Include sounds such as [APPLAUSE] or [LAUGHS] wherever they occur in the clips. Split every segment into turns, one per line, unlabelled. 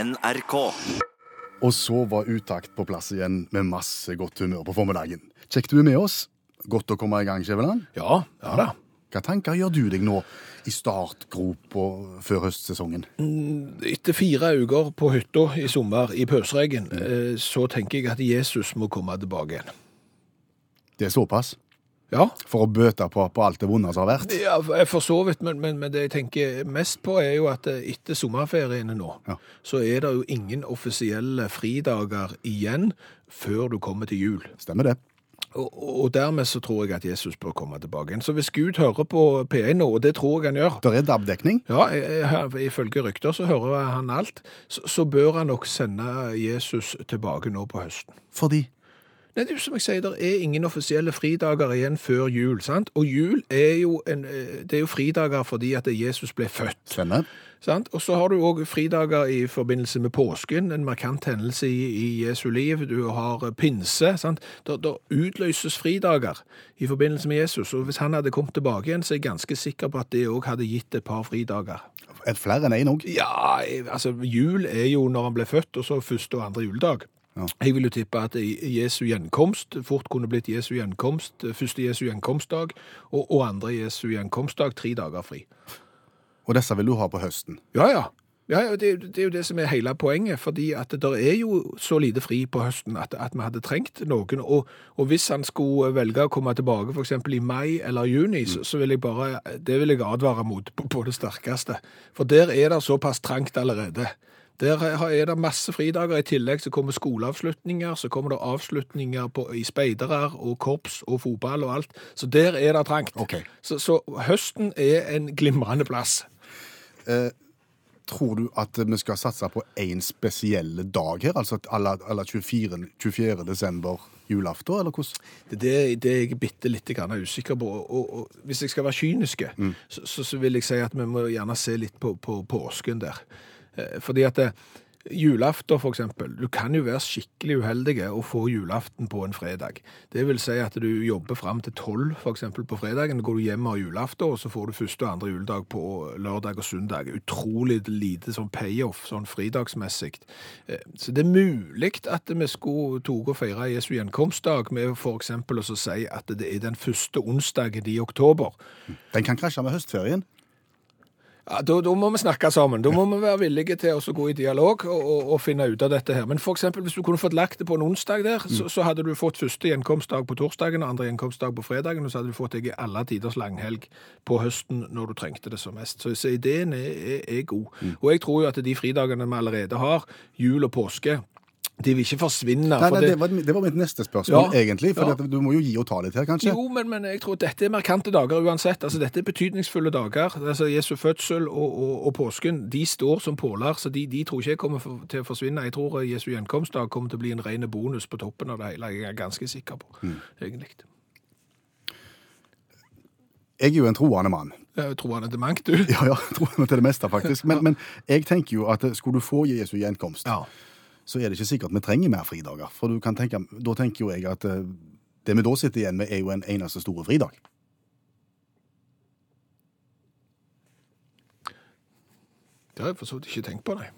NRK.
Og så var utakt på plass igjen med masse godt humør på formiddagen. Kjekt du er med oss. Godt å komme i gang, Skjæveland.
Ja, ja da.
Hva tanker gjør du deg nå i startgropa før høstsesongen?
Etter fire uker på hytta i sommer i pøsregn, eh, så tenker jeg at Jesus må komme tilbake igjen.
Det er såpass.
Ja,
For å bøte på, på alt det vonde som har vært.
ja jeg for så vidt, men, men, men det jeg tenker mest på er jo at eh, etter sommerferiene nå,
Ja.
så er det jo ingen offisielle fridager igjen før du kommer til jul.
Stemmer det.
Og, og dermed så tror jeg at Jesus bør komme tilbake igjen. Så hvis Gud hører på P1 nå, og det tror jeg han gjør,
Der er DAB-dekning.
Ja, jeg- jeg- ifølge rykter så hører han alt. Så, så bør han nok sende Jesus tilbake nå på høsten.
Fordi
Nei, det er jo som jeg sier, det er ingen offisielle fridager igjen før jul, sant? Og jul er jo, en, eh, det er jo fridager fordi at Jesus ble født,
Stemmer.
sant? Og så har du også fridager i forbindelse med påsken, en markant hendelse i, i Jesu liv. Du har eh, pinse, sant? Da, da utløses fridager i forbindelse med Jesus. Og hvis han hadde kommet tilbake igjen, så er jeg ganske sikker på at det også hadde gitt et par fridager.
Et flere enn én òg.
Ja, jeg- altså jul er jo når han ble født, og så første og andre juledag.
Ja.
Jeg vil jo tippe at i- Jesu gjenkomst fort kunne blitt Jesu gjenkomst, eh, første Jesu gjenkomstdag, og, og andre Jesu gjenkomstdag, tre dager fri.
Og disse vil du ha på høsten.
Ja, ja. ja ja, det, det er jo det som er hele poenget, fordi at det der er jo så lite fri på høsten at, at vi hadde trengt noen. Og, og hvis han skulle velge å komme tilbake f.eks. i mai eller juni, så, så vil jeg bare Det vil jeg advare mot på, på det sterkeste. For der er det såpass trangt allerede. Der har- er det masse fridager. I tillegg så kommer skoleavslutninger, så kommer det avslutninger på, i speidere og korps og fotball og alt. Så der er det trangt.
Ok.
Så, så høsten er en glimrende plass.
Tror du at vi skal satse på én spesiell dag her? Altså à la à la 24. 24. desember, julaften, eller hvordan?
Det, er det er jeg bitte litt grann er usikker på. Og, og hvis jeg skal være kynisk, så, så, så vil jeg si at vi må gjerne se litt på, på påsken der. Eh, Fordi at eh, julaften, for eksempel, du kan jo være skikkelig uheldige og få julaften på en fredag. Det vil si at du jobber frem til tolv, for eksempel, på fredagen, går du hjem og har julaften, og så får du første og andre juledag på lørdag og søndag. Utrolig lite sånn payoff, sånn fridagsmessig. Eh, Så det er mulig at vi skulle tog og feire Jesu gjenkomstdag med for eksempel å så si at det er den første onsdagen i oktober.
Den kan krasje med høstferien.
Ja, da, da må vi snakke sammen. Da må vi være villige til å gå i dialog og, og, og finne ut av dette her. Men for eksempel, hvis du kunne fått lagt det på en onsdag der, så, så hadde du fått første gjenkomstdag på torsdagen, andre gjenkomstdag på fredagen, og så hadde du fått deg i alle tiders langhelg på høsten når du trengte det som mest. Så, så ideen er, er, er god.
Mm.
Og jeg tror jo at de fridagene vi allerede har, jul og påske, de vil ikke forsvinne.
Nei,
for
nei,
det-
det, var, det var mitt neste spørsmål,
Ja.
egentlig. For
Ja.
at du må jo gi og ta litt her, kanskje.
Jo, men, men jeg tror dette er markante dager uansett. Altså, dette er betydningsfulle dager. Altså, Jesu fødsel og, og, og påsken de står som påler, så de, de tror ikke jeg kommer for, til å forsvinne. Jeg tror eh, Jesu gjenkomstdag kommer til å bli en ren bonus på toppen av det hele. Jeg er ganske sikker på, egentlig.
Jeg er jo en troende mann. [LAUGHS]
Jeg tror han er demangt, du.
Ja, ja, troende til det meste, faktisk. Men, men jeg tenker jo at eh, skulle du få Jesu gjenkomst,
Ja.
så er det ikke sikkert vi trenger mer fridager. For du kan tenke, da tenker jo jeg at eh, det vi da sitter igjen med, er jo en eneste store fridag.
Det har jeg for så vidt ikke tenkt på, nei.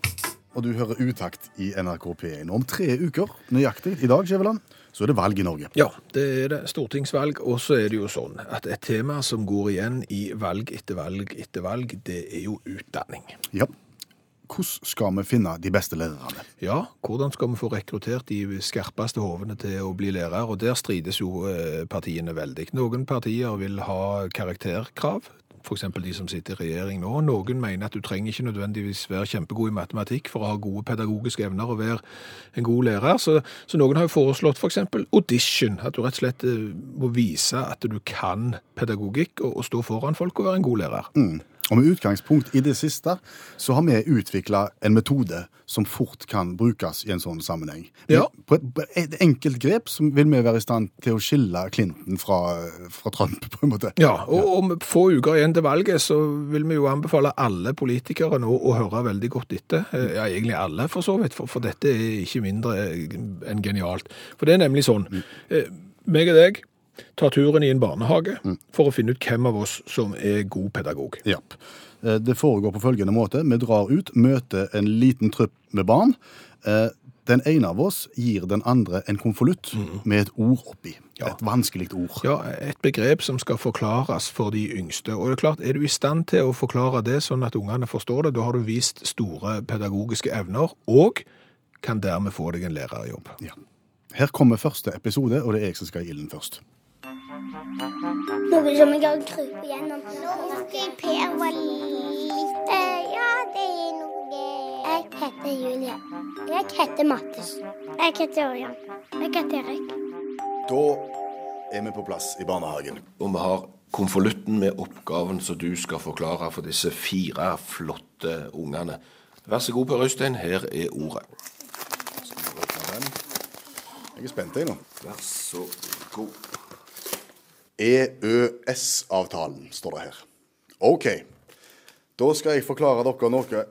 Og du hører utakt i NRK P1 om tre uker, nøyaktig i dag, Skjæveland, så er det valg i Norge.
Ja, det er det. Stortingsvalg. Og så er det jo sånn at et tema som går igjen i valg etter valg etter valg, det er jo utdanning.
Ja. Hvordan skal vi finne de beste lærerne?
Ja, hvordan skal vi få rekruttert de skarpeste hovene til å bli lærer? Og der strides jo eh, partiene veldig. Noen partier vil ha karakterkrav, f.eks. de som sitter i regjering nå. Noen mener at du trenger ikke nødvendigvis være kjempegod i matematikk for å ha gode pedagogiske evner og være en god lærer. Så, så noen har jo foreslått f.eks. audition, at du rett og slett eh, må vise at du kan pedagogikk og, og stå foran folk og være en god lærer.
Og med utgangspunkt i det siste, så har vi utvikla en metode som fort kan brukes i en sånn sammenheng. Men
Ja.
På et, på et enkelt grep så vil vi være i stand til å skille Clinton fra, fra Trump, på en måte.
Ja, og om få uker igjen til valget, så vil vi jo anbefale alle politikere nå å høre veldig godt etter. Eh, Ja, egentlig alle, for så vidt, for, for dette er ikke mindre eh, enn genialt. For det er nemlig sånn. eh, Meg og deg tar turen i en barnehage for å finne ut hvem av oss som er god pedagog.
Ja. Eh, Det foregår på følgende måte. Vi drar ut, møter en liten trupp med barn. Eh, Den ene av oss gir den andre en konvolutt med et ord oppi.
Mhm. Ja.
Et vanskelig ord.
Ja, et begrep som skal forklares for de yngste. Og det er klart, er du i stand til å forklare det sånn at ungene forstår det, da har du vist store pedagogiske evner, og kan dermed få deg en lærerjobb.
Ja. Her kommer første episode, og det er jeg som skal i ilden først.
Nå vil jeg gang krype gjennom. Nå husker jeg Per var liten. ja, det er noe Jeg heter Julie. Jeg heter Mattis. Jeg heter Ørjan. Jeg heter Erik.
Da er vi på plass i barnehagen.
Og vi har konvolutten med oppgaven som du skal forklare for disse fire flotte ungene. Vær så god, Per Øystein, her er ordet. Skal vi åpne den?
Jeg er spent, jeg nå.
Vær så god.
EØS-avtalen, E står det her. OK. Da skal jeg forklare dere noe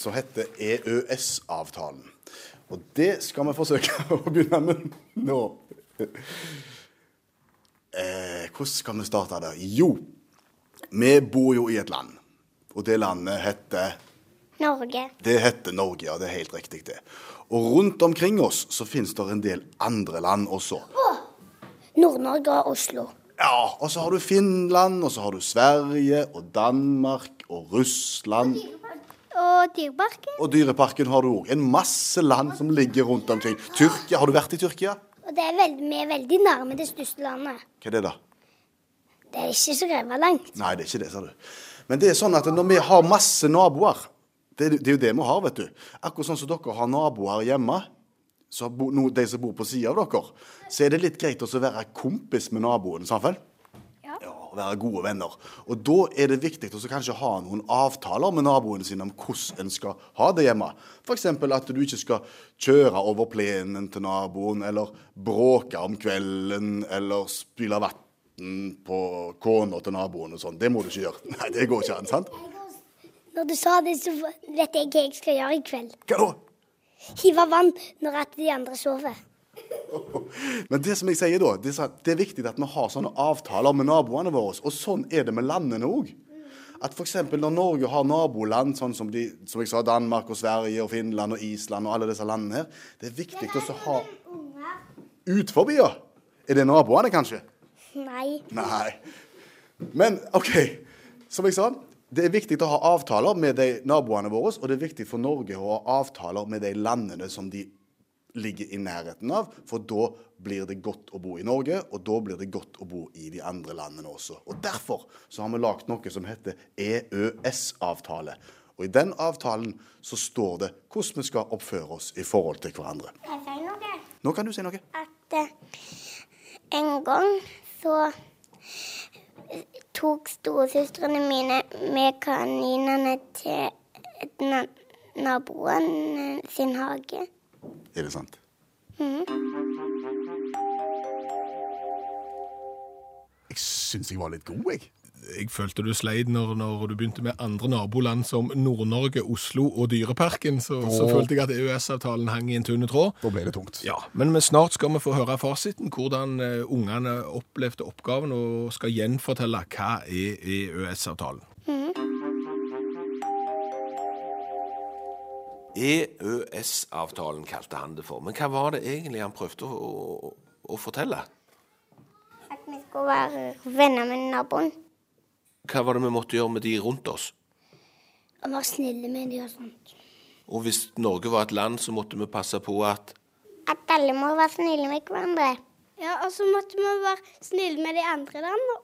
som heter EØS-avtalen. Og det skal vi forsøke [LAUGHS] å begynne med nå. Eh, hvordan skal vi starte der? Jo, vi bor jo i et land. Og det landet heter
Norge.
det heter Norge, ja. Det er helt riktig, det. Og rundt omkring oss så finnes det en del andre land også.
Nord-Norge og Oslo.
Ja, og så har du Finland, og så har du Sverige og Danmark og Russland.
Og Dyreparken.
Og Dyreparken har du òg. En masse land som ligger rundt omkring. Tyrkia, Har du vært i Tyrkia?
Og det er veldig, vi er veldig nærme det største landet.
Hva er det, da?
Det er ikke så greva langt.
Nei, det er ikke det, sa du. Men det er sånn at når vi har masse naboer Det er, det er jo det vi har, vet du. Akkurat sånn som dere har naboer hjemme, så har bo, no, de som bor på sida av dere, så er det litt greit også å være kompis med naboen, sant vel?
Ja.
og Være gode venner. Og da er det viktig å kanskje ha noen avtaler med naboene sine om hvordan en skal ha det hjemme. F.eks. at du ikke skal kjøre over plenen til naboen, eller bråke om kvelden, eller spyle vann på kona til naboen og sånn. Det må du ikke gjøre. [LAUGHS] Nei, det går ikke an, sant?
Når du sa det, så vet jeg hva jeg skal gjøre i kveld.
Hva da?
Hive vann når at de andre sover.
Men det som jeg sier da, det er sånn- det er viktig at vi har sånne avtaler med naboene våre. Og sånn er det med landene òg. At f.eks. når Norge har naboland sånn som, de, som jeg sa, Danmark og Sverige og Finland og Island og alle disse landene her, det er viktig også å ha ut forbi, ja. Er det naboene, kanskje?
Nei.
Nei. Men OK, som jeg sa. Det er viktig å ha avtaler med de naboene våre, og det er viktig for Norge å ha avtaler med de landene som de ligger i nærheten av, for da blir det godt å bo i Norge, og da blir det godt å bo i de andre landene også. Og derfor så har vi lagd noe som heter EØS-avtale. Og i den avtalen så står det hvordan vi skal oppføre oss i forhold til hverandre.
Jeg sier noe.
Nå kan du si noe.
at eh, en gang så tok storesøstrene mine med kaninene til et na naboen eh, sin hage.
Er det sant? Jeg syns jeg var litt god, jeg.
Jeg følte du sleit når, når du begynte med andre naboland som Nord-Norge, Oslo og Dyreparken, så, så følte jeg at EØS-avtalen hang i en tynne tråd.
Da ble det tungt.
Ja, men men snart skal vi få høre fasiten, hvordan eh, ungene opplevde oppgaven, og skal gjenfortelle hva er EØS-avtalen.
Mhm. EØS-avtalen kalte han det for. Men hva var det egentlig han prøvde å, å, å fortelle?
At vi skulle være venner med naboen.
Hva var det vi måtte gjøre med de rundt oss?
Og være snille med dem og sånt.
Og hvis Norge var et land, så måtte vi passe på at
At alle må være snille med hverandre. Ja, og så måtte vi være snille med de andre landene.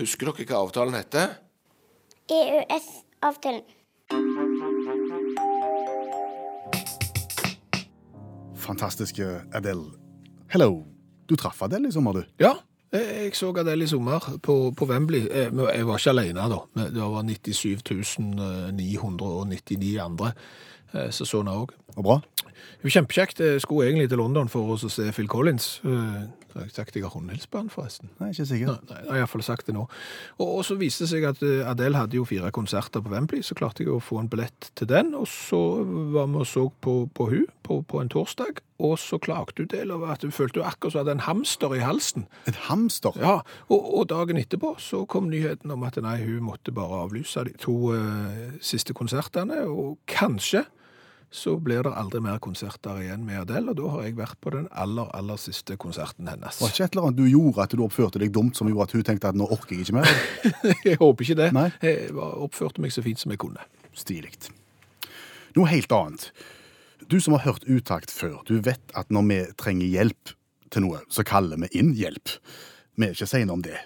Husker dere hva avtalen heter?
E EØS-avtalen.
Fantastiske Adele. Hello. Du traff Adele i sommer, du.
Ja, jeg jeg så Adele i sommer på, på Wembley. Eh, men Jeg var ikke alene da. men Det var 97 999 andre eh, som så henne òg.
Og bra.
Kjempekjekt. Jeg skulle egentlig til London for å se Phil Collins. eh, Har jeg sagt jeg har hundehils på han, forresten?
Nei, ikke sikker.
Nei, nei, jeg har iallfall sagt det nå. Og, og så viste det seg at eh, Adele hadde jo fire konserter på Wembley, så klarte jeg å få en billett til den. Og så var vi og så på, på hun på, på en torsdag, og så klagde hun del over at hun følte hun akkurat som hun hadde en hamster i halsen.
Et hamster?
Ja, og, og dagen etterpå så kom nyheten om at nei, hun måtte bare avlyse de to eh, siste konsertene, og kanskje så blir det aldri mer konserter igjen med Adele, og da har jeg vært på den aller, aller siste konserten hennes.
Hva
Var det ikke et eller annet du gjorde at du oppførte deg dumt som gjorde at hun tenkte at nå orker jeg ikke mer?
[LAUGHS] Jeg håper ikke det.
Nei.
Jeg var, oppførte meg så fint som jeg kunne.
Stilig.
Noe helt annet. Du som har hørt utakt før, du vet at når vi trenger hjelp til noe, så kaller vi inn hjelp. Vi er ikke seine om det.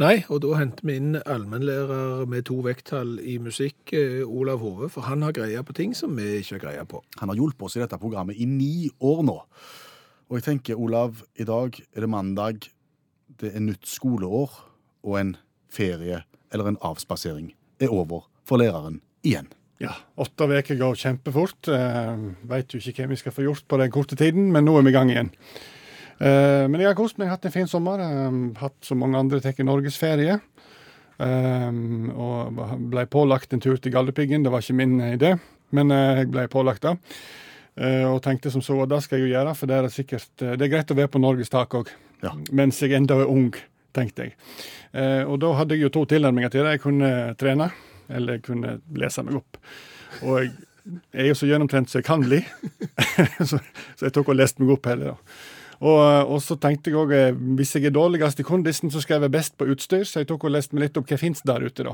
Nei, og da henter vi inn allmennlærer med to vekttall i musikk, eh, Olav Hove, for han har greie på ting som vi ikke har greie på.
Han har hjulpet oss i dette programmet i ni år nå. Og jeg tenker, Olav, i dag er det mandag, det er nytt skoleår, og en ferie eller en avspasering er over for læreren igjen.
Ja, åtte uker går kjempefort. Eh, Veit jo ikke hva vi skal få gjort på den korte tiden, men nå er vi i gang igjen. Eh, men jeg har kost meg, hatt en fin sommer. Eh, hatt som mange andre tatt norgesferie. Eh, og ble pålagt en tur til Galdhøpiggen, det var ikke min idé, men eh, jeg ble pålagt det. Eh, og tenkte som så, at det skal jeg jo gjøre, for det er, det sikkert, eh, det er greit å være på Norges tak òg.
Ja.
Mens jeg enda er ung, tenkte jeg. Eh, og da hadde jeg jo to tilnærminger til det. Jeg kunne trene, eller jeg kunne lese meg opp. Og jeg er jo så gjennomtrent som jeg kan bli, [LAUGHS] så, så jeg tok og leste meg opp hele da. Og, og så tenkte jeg òg hvis jeg er dårligst i kondisen, så skal jeg være best på utstyr. Så jeg tok og leste meg litt opp hva fins der ute, da.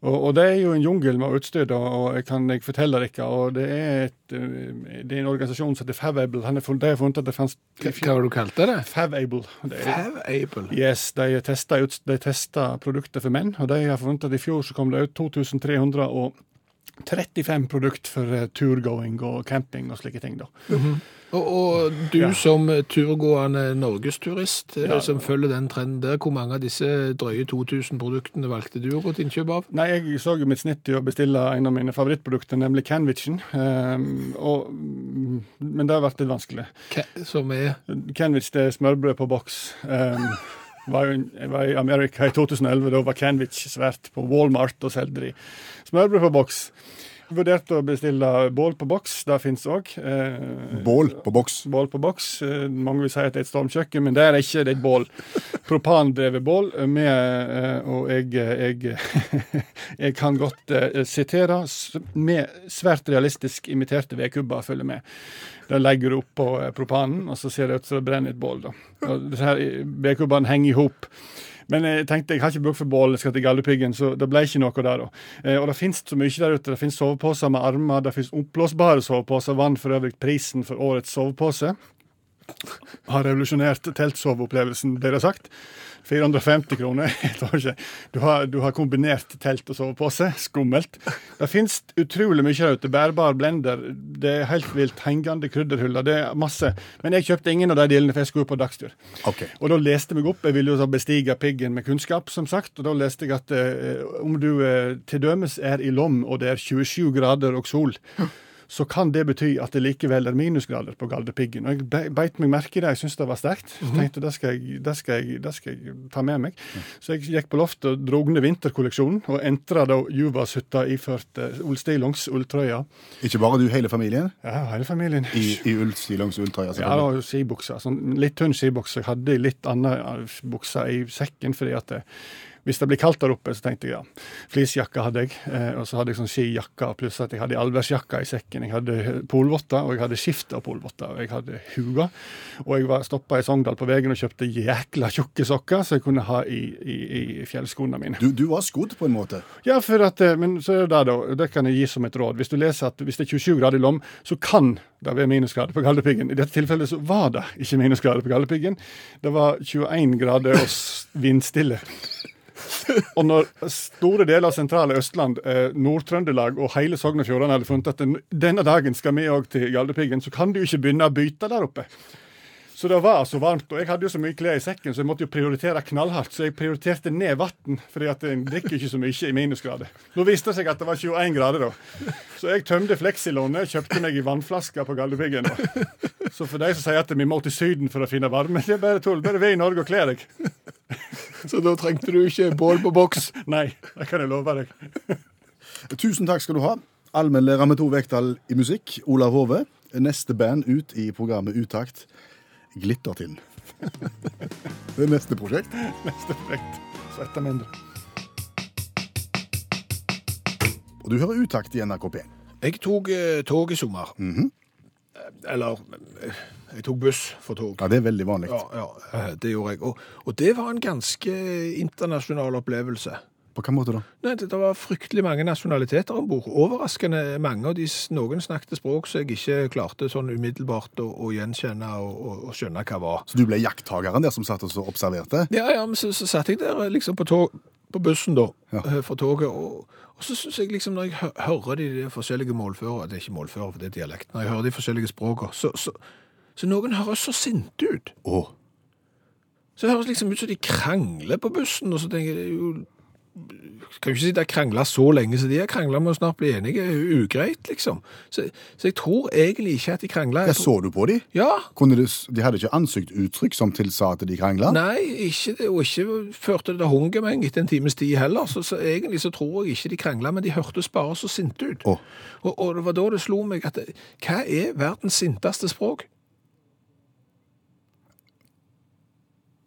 Og, og det er jo en jungel med utstyr, da, og jeg kan jeg fortelle dere. Og det er, et, eh, det er en organisasjon som heter Favable. Han er fun- De har funnet at det fantes
Hva var det du kalte det?
Favable. Det er,
Fab-able.
Yes, de testa, ut, de testa produkter for menn, og de har funnet at i fjor så kom det ut 2335 produkt for eh, turgåing og camping og slike ting. da.
Og, og du
Ja.
som turgående norgesturist, eh,
Ja.
som følger den trenden der, hvor mange av disse drøye 2000 produktene valgte du å gå til innkjøp av?
Nei, jeg så jo mitt snitt i å bestille en av mine favorittprodukter, nemlig Canvitchen. ehm, og, mm, men det har vært litt vanskelig.
Hva- Som er
Canvitch det er smørbrød på boks. ehm, var jo, jeg var i Amerika i 2011, da var Canvitch svært på Walmart og solgte de. Smørbrød på boks. Vurderte å bestille bål på boks, det eh, fins òg.
Bål på boks.
bål på boks. Eh, Mange vil si at det er et stormkjøkken, men det er det ikke. Det er et bål. Propandrevet bål. Med, eh, og jeg, jeg, [LAUGHS] jeg kan godt eh, sitere s- med svært realistisk imiterte vedkubber, følger med. Da legger du oppå eh, propanen, og så ser det ut som det brenner et bål. da. Og disse her Vedkubbene henger i hop. Men jeg tenkte, jeg har ikke bruk for bål, jeg skal til Galdhøpiggen, så det ble ikke noe der. da. Eh, og det finnes så mye der ute. Det finnes soveposer med armer, det finnes oppblåsbare soveposer, vant for øvrig prisen for årets sovepose. Har revolusjonert teltsoveopplevelsen, blir det sagt. 450 kroner. [LAUGHS] Jeg tror ikke. Du har, du har kombinert telt og sovepose. Skummelt. Det fins utrolig mye der ute. Bærbar blender. Det er helt vilt. Hengende krydderhuller. Det er masse. Men jeg kjøpte ingen av de delene, for jeg skulle på dagstur.
Ok.
Og da leste jeg meg opp. Jeg ville jo da bestige piggen med kunnskap, som sagt. Og da leste jeg at eh, om du eh, til dømes er i Lom, og det er 27 grader og sol, så kan det bety at det likevel er minusgrader på Galdhøpiggen. Og jeg be- beit meg merke i det, jeg syntes det var sterkt. Jeg tenkte det skal jeg, det skal jeg, det skal jeg ta med meg. Så jeg gikk på loftet og drog ned vinterkolleksjonen, og entra da Juvashytta iført uh, ullstillongs ulltrøya.
Ikke bare du, hele familien,
Ja, hele familien.
i, i ullstillongs ulltrøye.
Ja, altså, det var jo skibuksa. Sånn litt tynn skibukse. Jeg hadde litt annen bukse i sekken, fordi at det, hvis det blir kaldt der oppe, så tenkte jeg ja. Fleecejakke hadde jeg, eh, og så hadde jeg sånn skijakke, pluss at jeg hadde allværsjakka i sekken. Jeg hadde eh, polvotter, og jeg hadde skifte av polvotter, og jeg hadde hua. Og jeg var stoppa i Sogndal på veien og kjøpte jækla tjukke sokker som jeg kunne ha i, i, i fjellskoene mine.
Du, du var skodd på en måte.
Ja, for at, eh, men så er det der da, og det kan jeg gi som et råd. Hvis du leser at hvis det er 27 grader i Lom, så kan det være minusgrader på Galdhøpiggen. I dette tilfellet så var det ikke minusgrader på Galdhøpiggen. Det var 21 grader og s- vindstille. Og når store deler av sentrale Østland, eh, Nord-Trøndelag og hele Sogn og Fjordane hadde funnet at den, denne dagen skal vi òg til Galdhøpiggen, så kan du jo ikke begynne å byte der oppe. Så det var så varmt, og jeg hadde jo så mye klær i sekken, så jeg måtte jo prioritere knallhardt. Så jeg prioriterte ned vann, fordi at en drikker ikke så mye i minusgrader. Nå viste det seg at det var 21 grader, da. Så jeg tømte Flexilånet, kjøpte meg i vannflaske på Galdhøpiggen. da. Så for de som sier at vi må til Syden for å finne varme, det er bare tull. Bare vær i Norge og kle deg.
Så da trengte du ikke bål på boks.
Nei, det kan jeg love deg.
Tusen takk skal du ha. Allmennlærer med to vekttall i musikk, Olav Hove. Neste band ut i programmet Utakt, Glittertind. [LAUGHS] Det er neste prosjekt.
Neste prosjekt. Svette mindre.
Og du hører Utakt i NRK P1.
[LAUGHS] Jeg tok eh, tog i sommer. Eh, Eller eh, jeg tok buss for tog.
Ja, det er veldig vanlig.
Ja, ja, eh, det gjorde jeg. Og, og det var en ganske internasjonal opplevelse.
På hvilken måte da?
Nei, det, det var fryktelig mange nasjonaliteter om bord. Overraskende mange. og de, s- Noen snakket språk som jeg ikke klarte sånn umiddelbart å, å gjenkjenne og, og, og skjønne hva var.
Så du ble jakttageren der som satt og så observerte?
Ja, ja, men så, så satt jeg der liksom på, tog, på bussen da,
Ja.
eh, for toget, og, og så synes jeg liksom når jeg hø- hører de, der forskjellige målfører, det er ikke målfører, for det er dialekt, når jeg hører de forskjellige språkene, så, så, så noen høres så sinte ut.
Å,
Så det høres liksom ut som de krangler på bussen, og så tenker jeg, det er jo, kan jo ikke si de krangler så lenge, så de har kranglet med å snart bli enige, det er jo ugreit liksom. Så, så jeg tror egentlig ikke at de krangler.
ja,
Jeg tror-
så du på de?
Ja,
Kunne de, s- de hadde ikke ansiktsuttrykk som tilsa at de krangla?
Nei, ikke, det- og ikke førte det til hungermeng etter en times tid heller. Så, så egentlig så tror jeg ikke de krangla, men de hørtes bare så sinte ut.
Å.
Og, og det var da det slo meg at det- hva er verdens sinteste språk?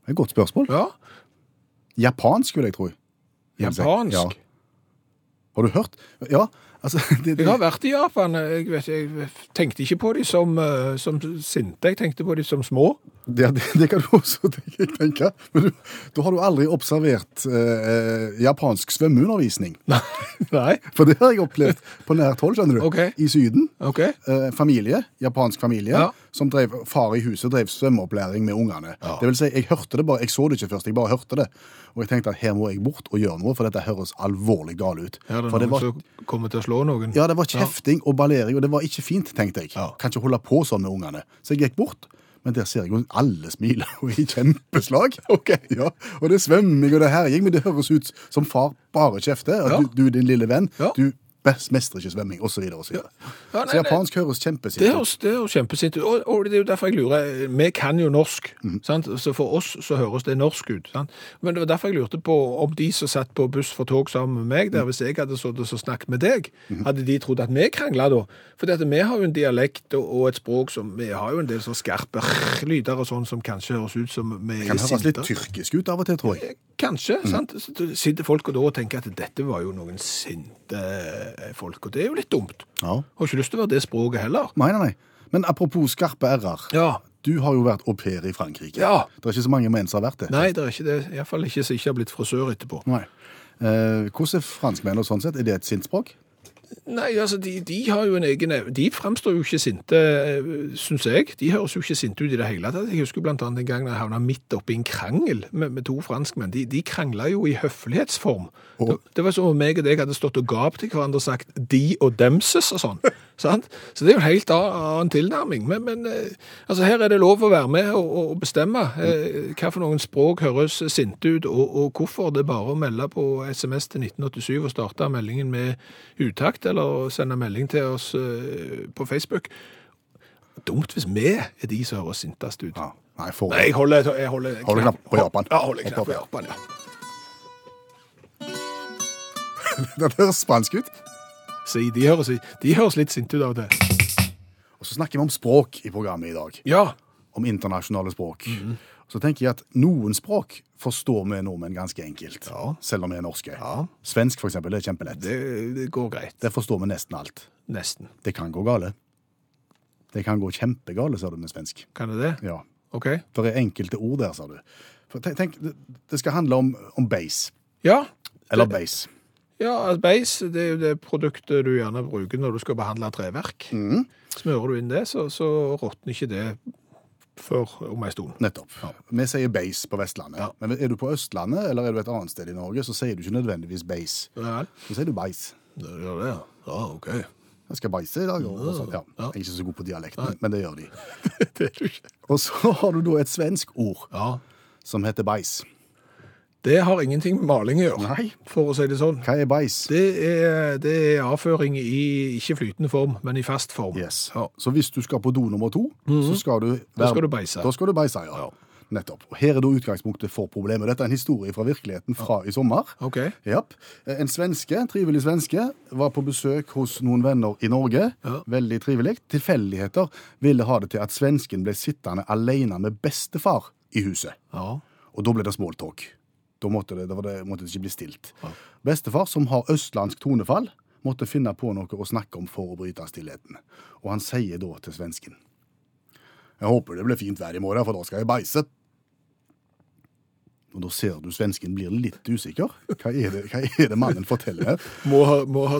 Det er et godt spørsmål.
Ja,
Japansk, vil jeg tro.
Japansk.
Ja. Har du hørt? Ja, altså [LAUGHS] det,
Jeg har vært i Japan. Jeg, vet, ikke, jeg tenkte ikke på de som, eh, som sinte, jeg tenkte på de som små. [LAUGHS]
det, det, det kan du også [LAUGHS] tenke. tenke. Men du, da har du aldri observert eh, eh, japansk svømmeundervisning.
Nei.
For det har jeg opplevd på nært hold, skjønner du.
Ok.
I Syden.
Ok.
eh, familie, japansk familie,
Ja.
som drev, far i huset drev svømmeopplæring med ungene. Det vil si, jeg hørte det bare, jeg så det ikke først, jeg bare hørte det. Og jeg tenkte at her må jeg bort og gjøre noe, for dette høres alvorlig gale ut.
Er det
for
noen
det var,
som kommer til å slå noen?
ja, det var kjefting og ballering, og det var ikke fint, tenkte jeg. Kan ikke holde på sånn med ungene. Så jeg gikk bort, men der ser jeg jo alle smiler [LAUGHS] og i
[LAUGHS]
kjempeslag. Ja, og det er svømming og det er herjing, men det høres ut som far bare kjefter. At
Ja.
du, du, din lille venn,
Ja.
du best mestrer ikke svømming, og så videre og så videre.
Ja, nei,
så
nei.
japansk høres kjempesint
Det
ut.
høres, det høres kjempesint ut. Og, og det er jo derfor jeg lurer. Vi kan jo norsk,
Mhm.
sant? så for oss så høres det norsk ut. Sant? Men det var derfor jeg lurte på om de som satt på buss for tog sammen med meg,
Mhm.
der hvis jeg hadde sittet og snakket med deg, hadde de trodd at vi krangla da? For vi har jo en dialekt og, og et språk som Vi har jo en del sånn skarpe lyder og sånn som kanskje høres ut som vi er
kan høres litt Mhm.
sinte.
tyrkisk ut av og til, tror jeg.
Kanskje. sant? Så da sitter folk og da og tenker at dette var jo noen sinte folk, og det er jo litt dumt.
Ja.
Har ikke lyst til å være det språket heller.
Nei, nei, nei. Men apropos skarpe r-er.
Ja,
Du har jo vært au pair i Frankrike.
Ja.
Det er ikke så mange menn som har vært det.
Nei, det er ikke det. Iallfall ikke som ikke har blitt frisør etterpå.
Nei. Eh, hvordan er franskmennene sånn sett? Er det et sint språk?
Nei, altså, de, de har jo en egen ev- De framstår jo ikke sinte, syns jeg. De høres jo ikke sinte ut i det hele tatt. Jeg husker blant annet en gang da jeg havna midt oppi en krangel med, med to franskmenn. De, de krangla jo i høflighetsform. Det, det var som om meg og deg hadde stått og gapt til hverandre og sagt 'de' og 'demses' og sånn. sant? Så det er jo en helt a- annen tilnærming. Men, men eh, altså, her er det lov å være med og, og bestemme eh, hva for noen språk høres sinte ut, og, og hvorfor. Det er bare å melde på SMS til 1987 og starte meldingen med utakt, eller sende melding til oss eh, på Facebook. Dumt hvis vi er de som høres sintest ut.
Ja. Nei, for...
Nei, jeg holder, jeg holder,
Holder knapp på Japan.
Ja, holder knapp på Japan, ja.
[LAUGHS] Det høres spansk ut.
Si, de, høres, de høres litt sinte ut av det.
Og så snakker vi om språk i programmet i dag.
Ja,
Om internasjonale språk.
Mhm.
Så tenker jeg at noen språk forstår vi nordmenn ganske enkelt. Selv om vi er norske. Svensk, for eksempel, det er kjempelett. Det...
det, det går greit.
forstår vi nesten alt.
Nesten.
Det kan gå gale. Det kan gå kjempegale, sa du med svensk.
Kan det det?
Ja.
Ok.
For det er enkelte ord der, sa du. For tenk, tenk, det- det skal handle om, om beis.
Ja,
Eller beis.
Ja, altså, beis det er jo det produktet du gjerne bruker når du skal behandle treverk.
Mm.
Smører du inn det, så, så råtner ikke det før om ei stund.
Nettopp. Vi sier beis på Vestlandet.
Ja.
Men er du på Østlandet eller er du et annet sted i Norge, så sier du ikke nødvendigvis beis.
Ja, vel.
Så sier du beis. [LAUGHS]
det gjør det, ja. Ja, OK.
Jeg skal bæsje i dag. Og, og sånt. Ja.
Ja.
Jeg er ikke så god på dialekt, men, men det gjør de.
Det er du ikke.
Og så [LAUGHS] har du da et svensk ord
Ja.
som heter bæsj.
Det har ingenting med maling å gjøre,
Nei.
for å si det sånn.
Hva er bæsj?
Det er, det er avføring i ikke flytende form, men i fast form.
Yes.
Ja. Mhm.
Så hvis du skal på do nummer to, så skal du være-
skal du beise.
Da skal du beise, ja. Nettopp. Og her er da utgangspunktet for problemet. Dette er en historie fra virkeligheten fra i sommer.
Ok.
[LAUGHS] Japp. En svenske, trivelig svenske, var på besøk hos noen venner i Norge. Veldig trivelig. Tilfeldigheter ville ha det til at svensken ble sittende alene med bestefar i huset.
Ja.
Og da ble det small talk. Da måtte det, da var det, måtte det ikke bli stilt. Bestefar, som har østlandsk tonefall, måtte finne på noe å snakke om for å bryte stillheten. Og han sier da til svensken Jeg håper det blir fint vær i morgen, for da skal jeg beise. Og da ser du svensken blir litt usikker. Hva er det, hva er det mannen forteller her?
Må ha, må ha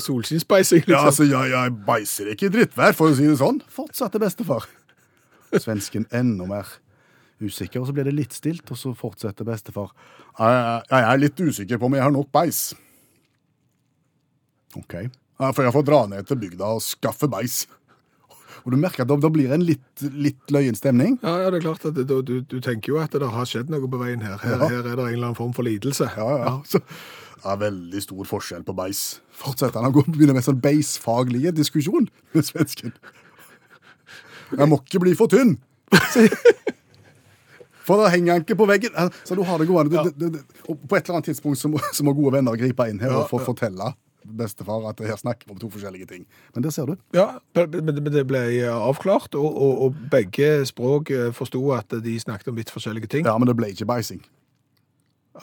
[LAUGHS]
solskinnspeising,
Ja,
liksom.
altså, jeg, jeg beiser ikke i drittvær, for å si det sånn. Fortsatte bestefar. [LAUGHS] Svensken enda mer usikker, og så blir det litt stilt, og så fortsetter bestefar. Jeg, jeg er litt usikker på om jeg har nok beis. Ok. Ja, for jeg får dra ned til bygda og skaffe beis. Og du merker at da, da blir det en litt, litt løyen stemning.
Ja, ja, det er klart at det, du, du, du tenker jo at det har skjedd noe på veien her. Her,
Ja.
her er det en eller annen form for lidelse.
Ja, ja. Så, det er veldig stor forskjell på beis. Fortsetter han å gå begynner med sånn beisfaglige diskusjon med svensken. Jeg må ikke bli for tynn! sier- For da henger han ikke på veggen. Eh, Så du har det gående. Du- du- du- og På et eller annet tidspunkt så må, så må gode venner gripe inn her og få fortelle bestefar at her snakker vi om to forskjellige ting. Men der ser du.
Ja, men men- men det ble eh, avklart, og, og, og begge språk eh, forsto at de snakket om litt forskjellige ting.
Ja, men det ble ikke beising.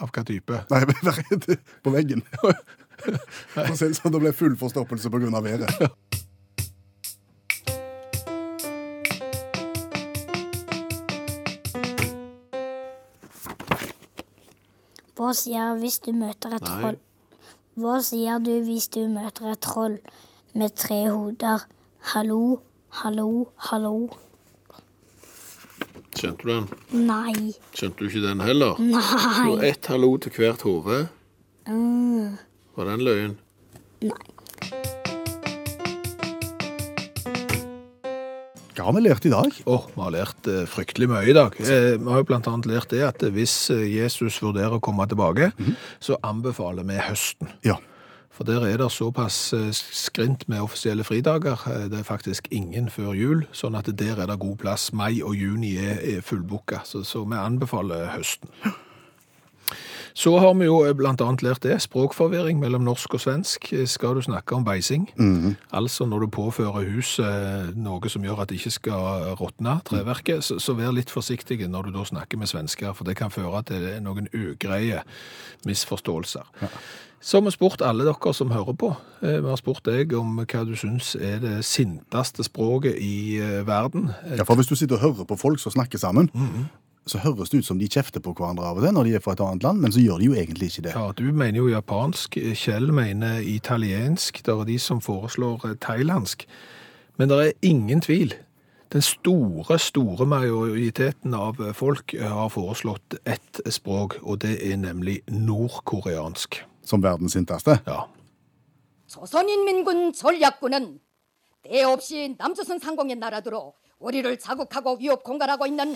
Av hva type?
Nei, [LAUGHS] jeg ble redd på veggen. For å si det sånn, det ble full forstoppelse på grunn av været.
Hva sier hvis du møter et troll? Hva sier du hvis du møter et troll med tre hoder? Hallo, hallo, hallo.
Kjente du den?
Nei,
Kjente du ikke den heller?
nei,
Og ett hallo til hvert hode. Var den løyen?
nei.
Hva har vi lært i dag?
Åh, vi har lært eh, fryktelig mye i dag. Eh, vi har jo blant annet lært det at eh, hvis eh, Jesus vurderer å komme tilbake, så anbefaler vi høsten.
Ja.
For der er det såpass eh, skrint med offisielle fridager. Eh, Det er faktisk ingen før jul, sånn at der er det god plass. Mai og juni er, er fullbooka, så, så vi anbefaler høsten. Så har vi jo eh, blant annet lært det, språkforvirring mellom norsk og svensk. Eh, Skal du snakke om beising, altså når du påfører huset eh, noe som gjør at det ikke skal råtne, treverket, så, så vær litt forsiktig når du da snakker med svensker, for det kan føre til noen ugreie misforståelser. Så har vi spurt alle dere som hører på. Eh, Vi har spurt deg om hva du syns er det sinteste språket i eh, verden. Eh,
Ja, for hvis du sitter og hører på folk som snakker sammen, så høres det ut som de kjefter på hverandre av og til når de er fra et annet land, men så gjør de jo egentlig ikke det.
Ja, du mener jo japansk, Kjell mener italiensk, det er de som foreslår eh, thailandsk. Men det er ingen tvil. Den store, store majoriteten av eh, folk eh, har foreslått ett språk, og det er nemlig nordkoreansk.
Som verdens sinteste.
Ja,
조선인민군 전략군은 때없이 남조선 상공에 날아들어 우리를 자극하고 위협 공갈하고 있는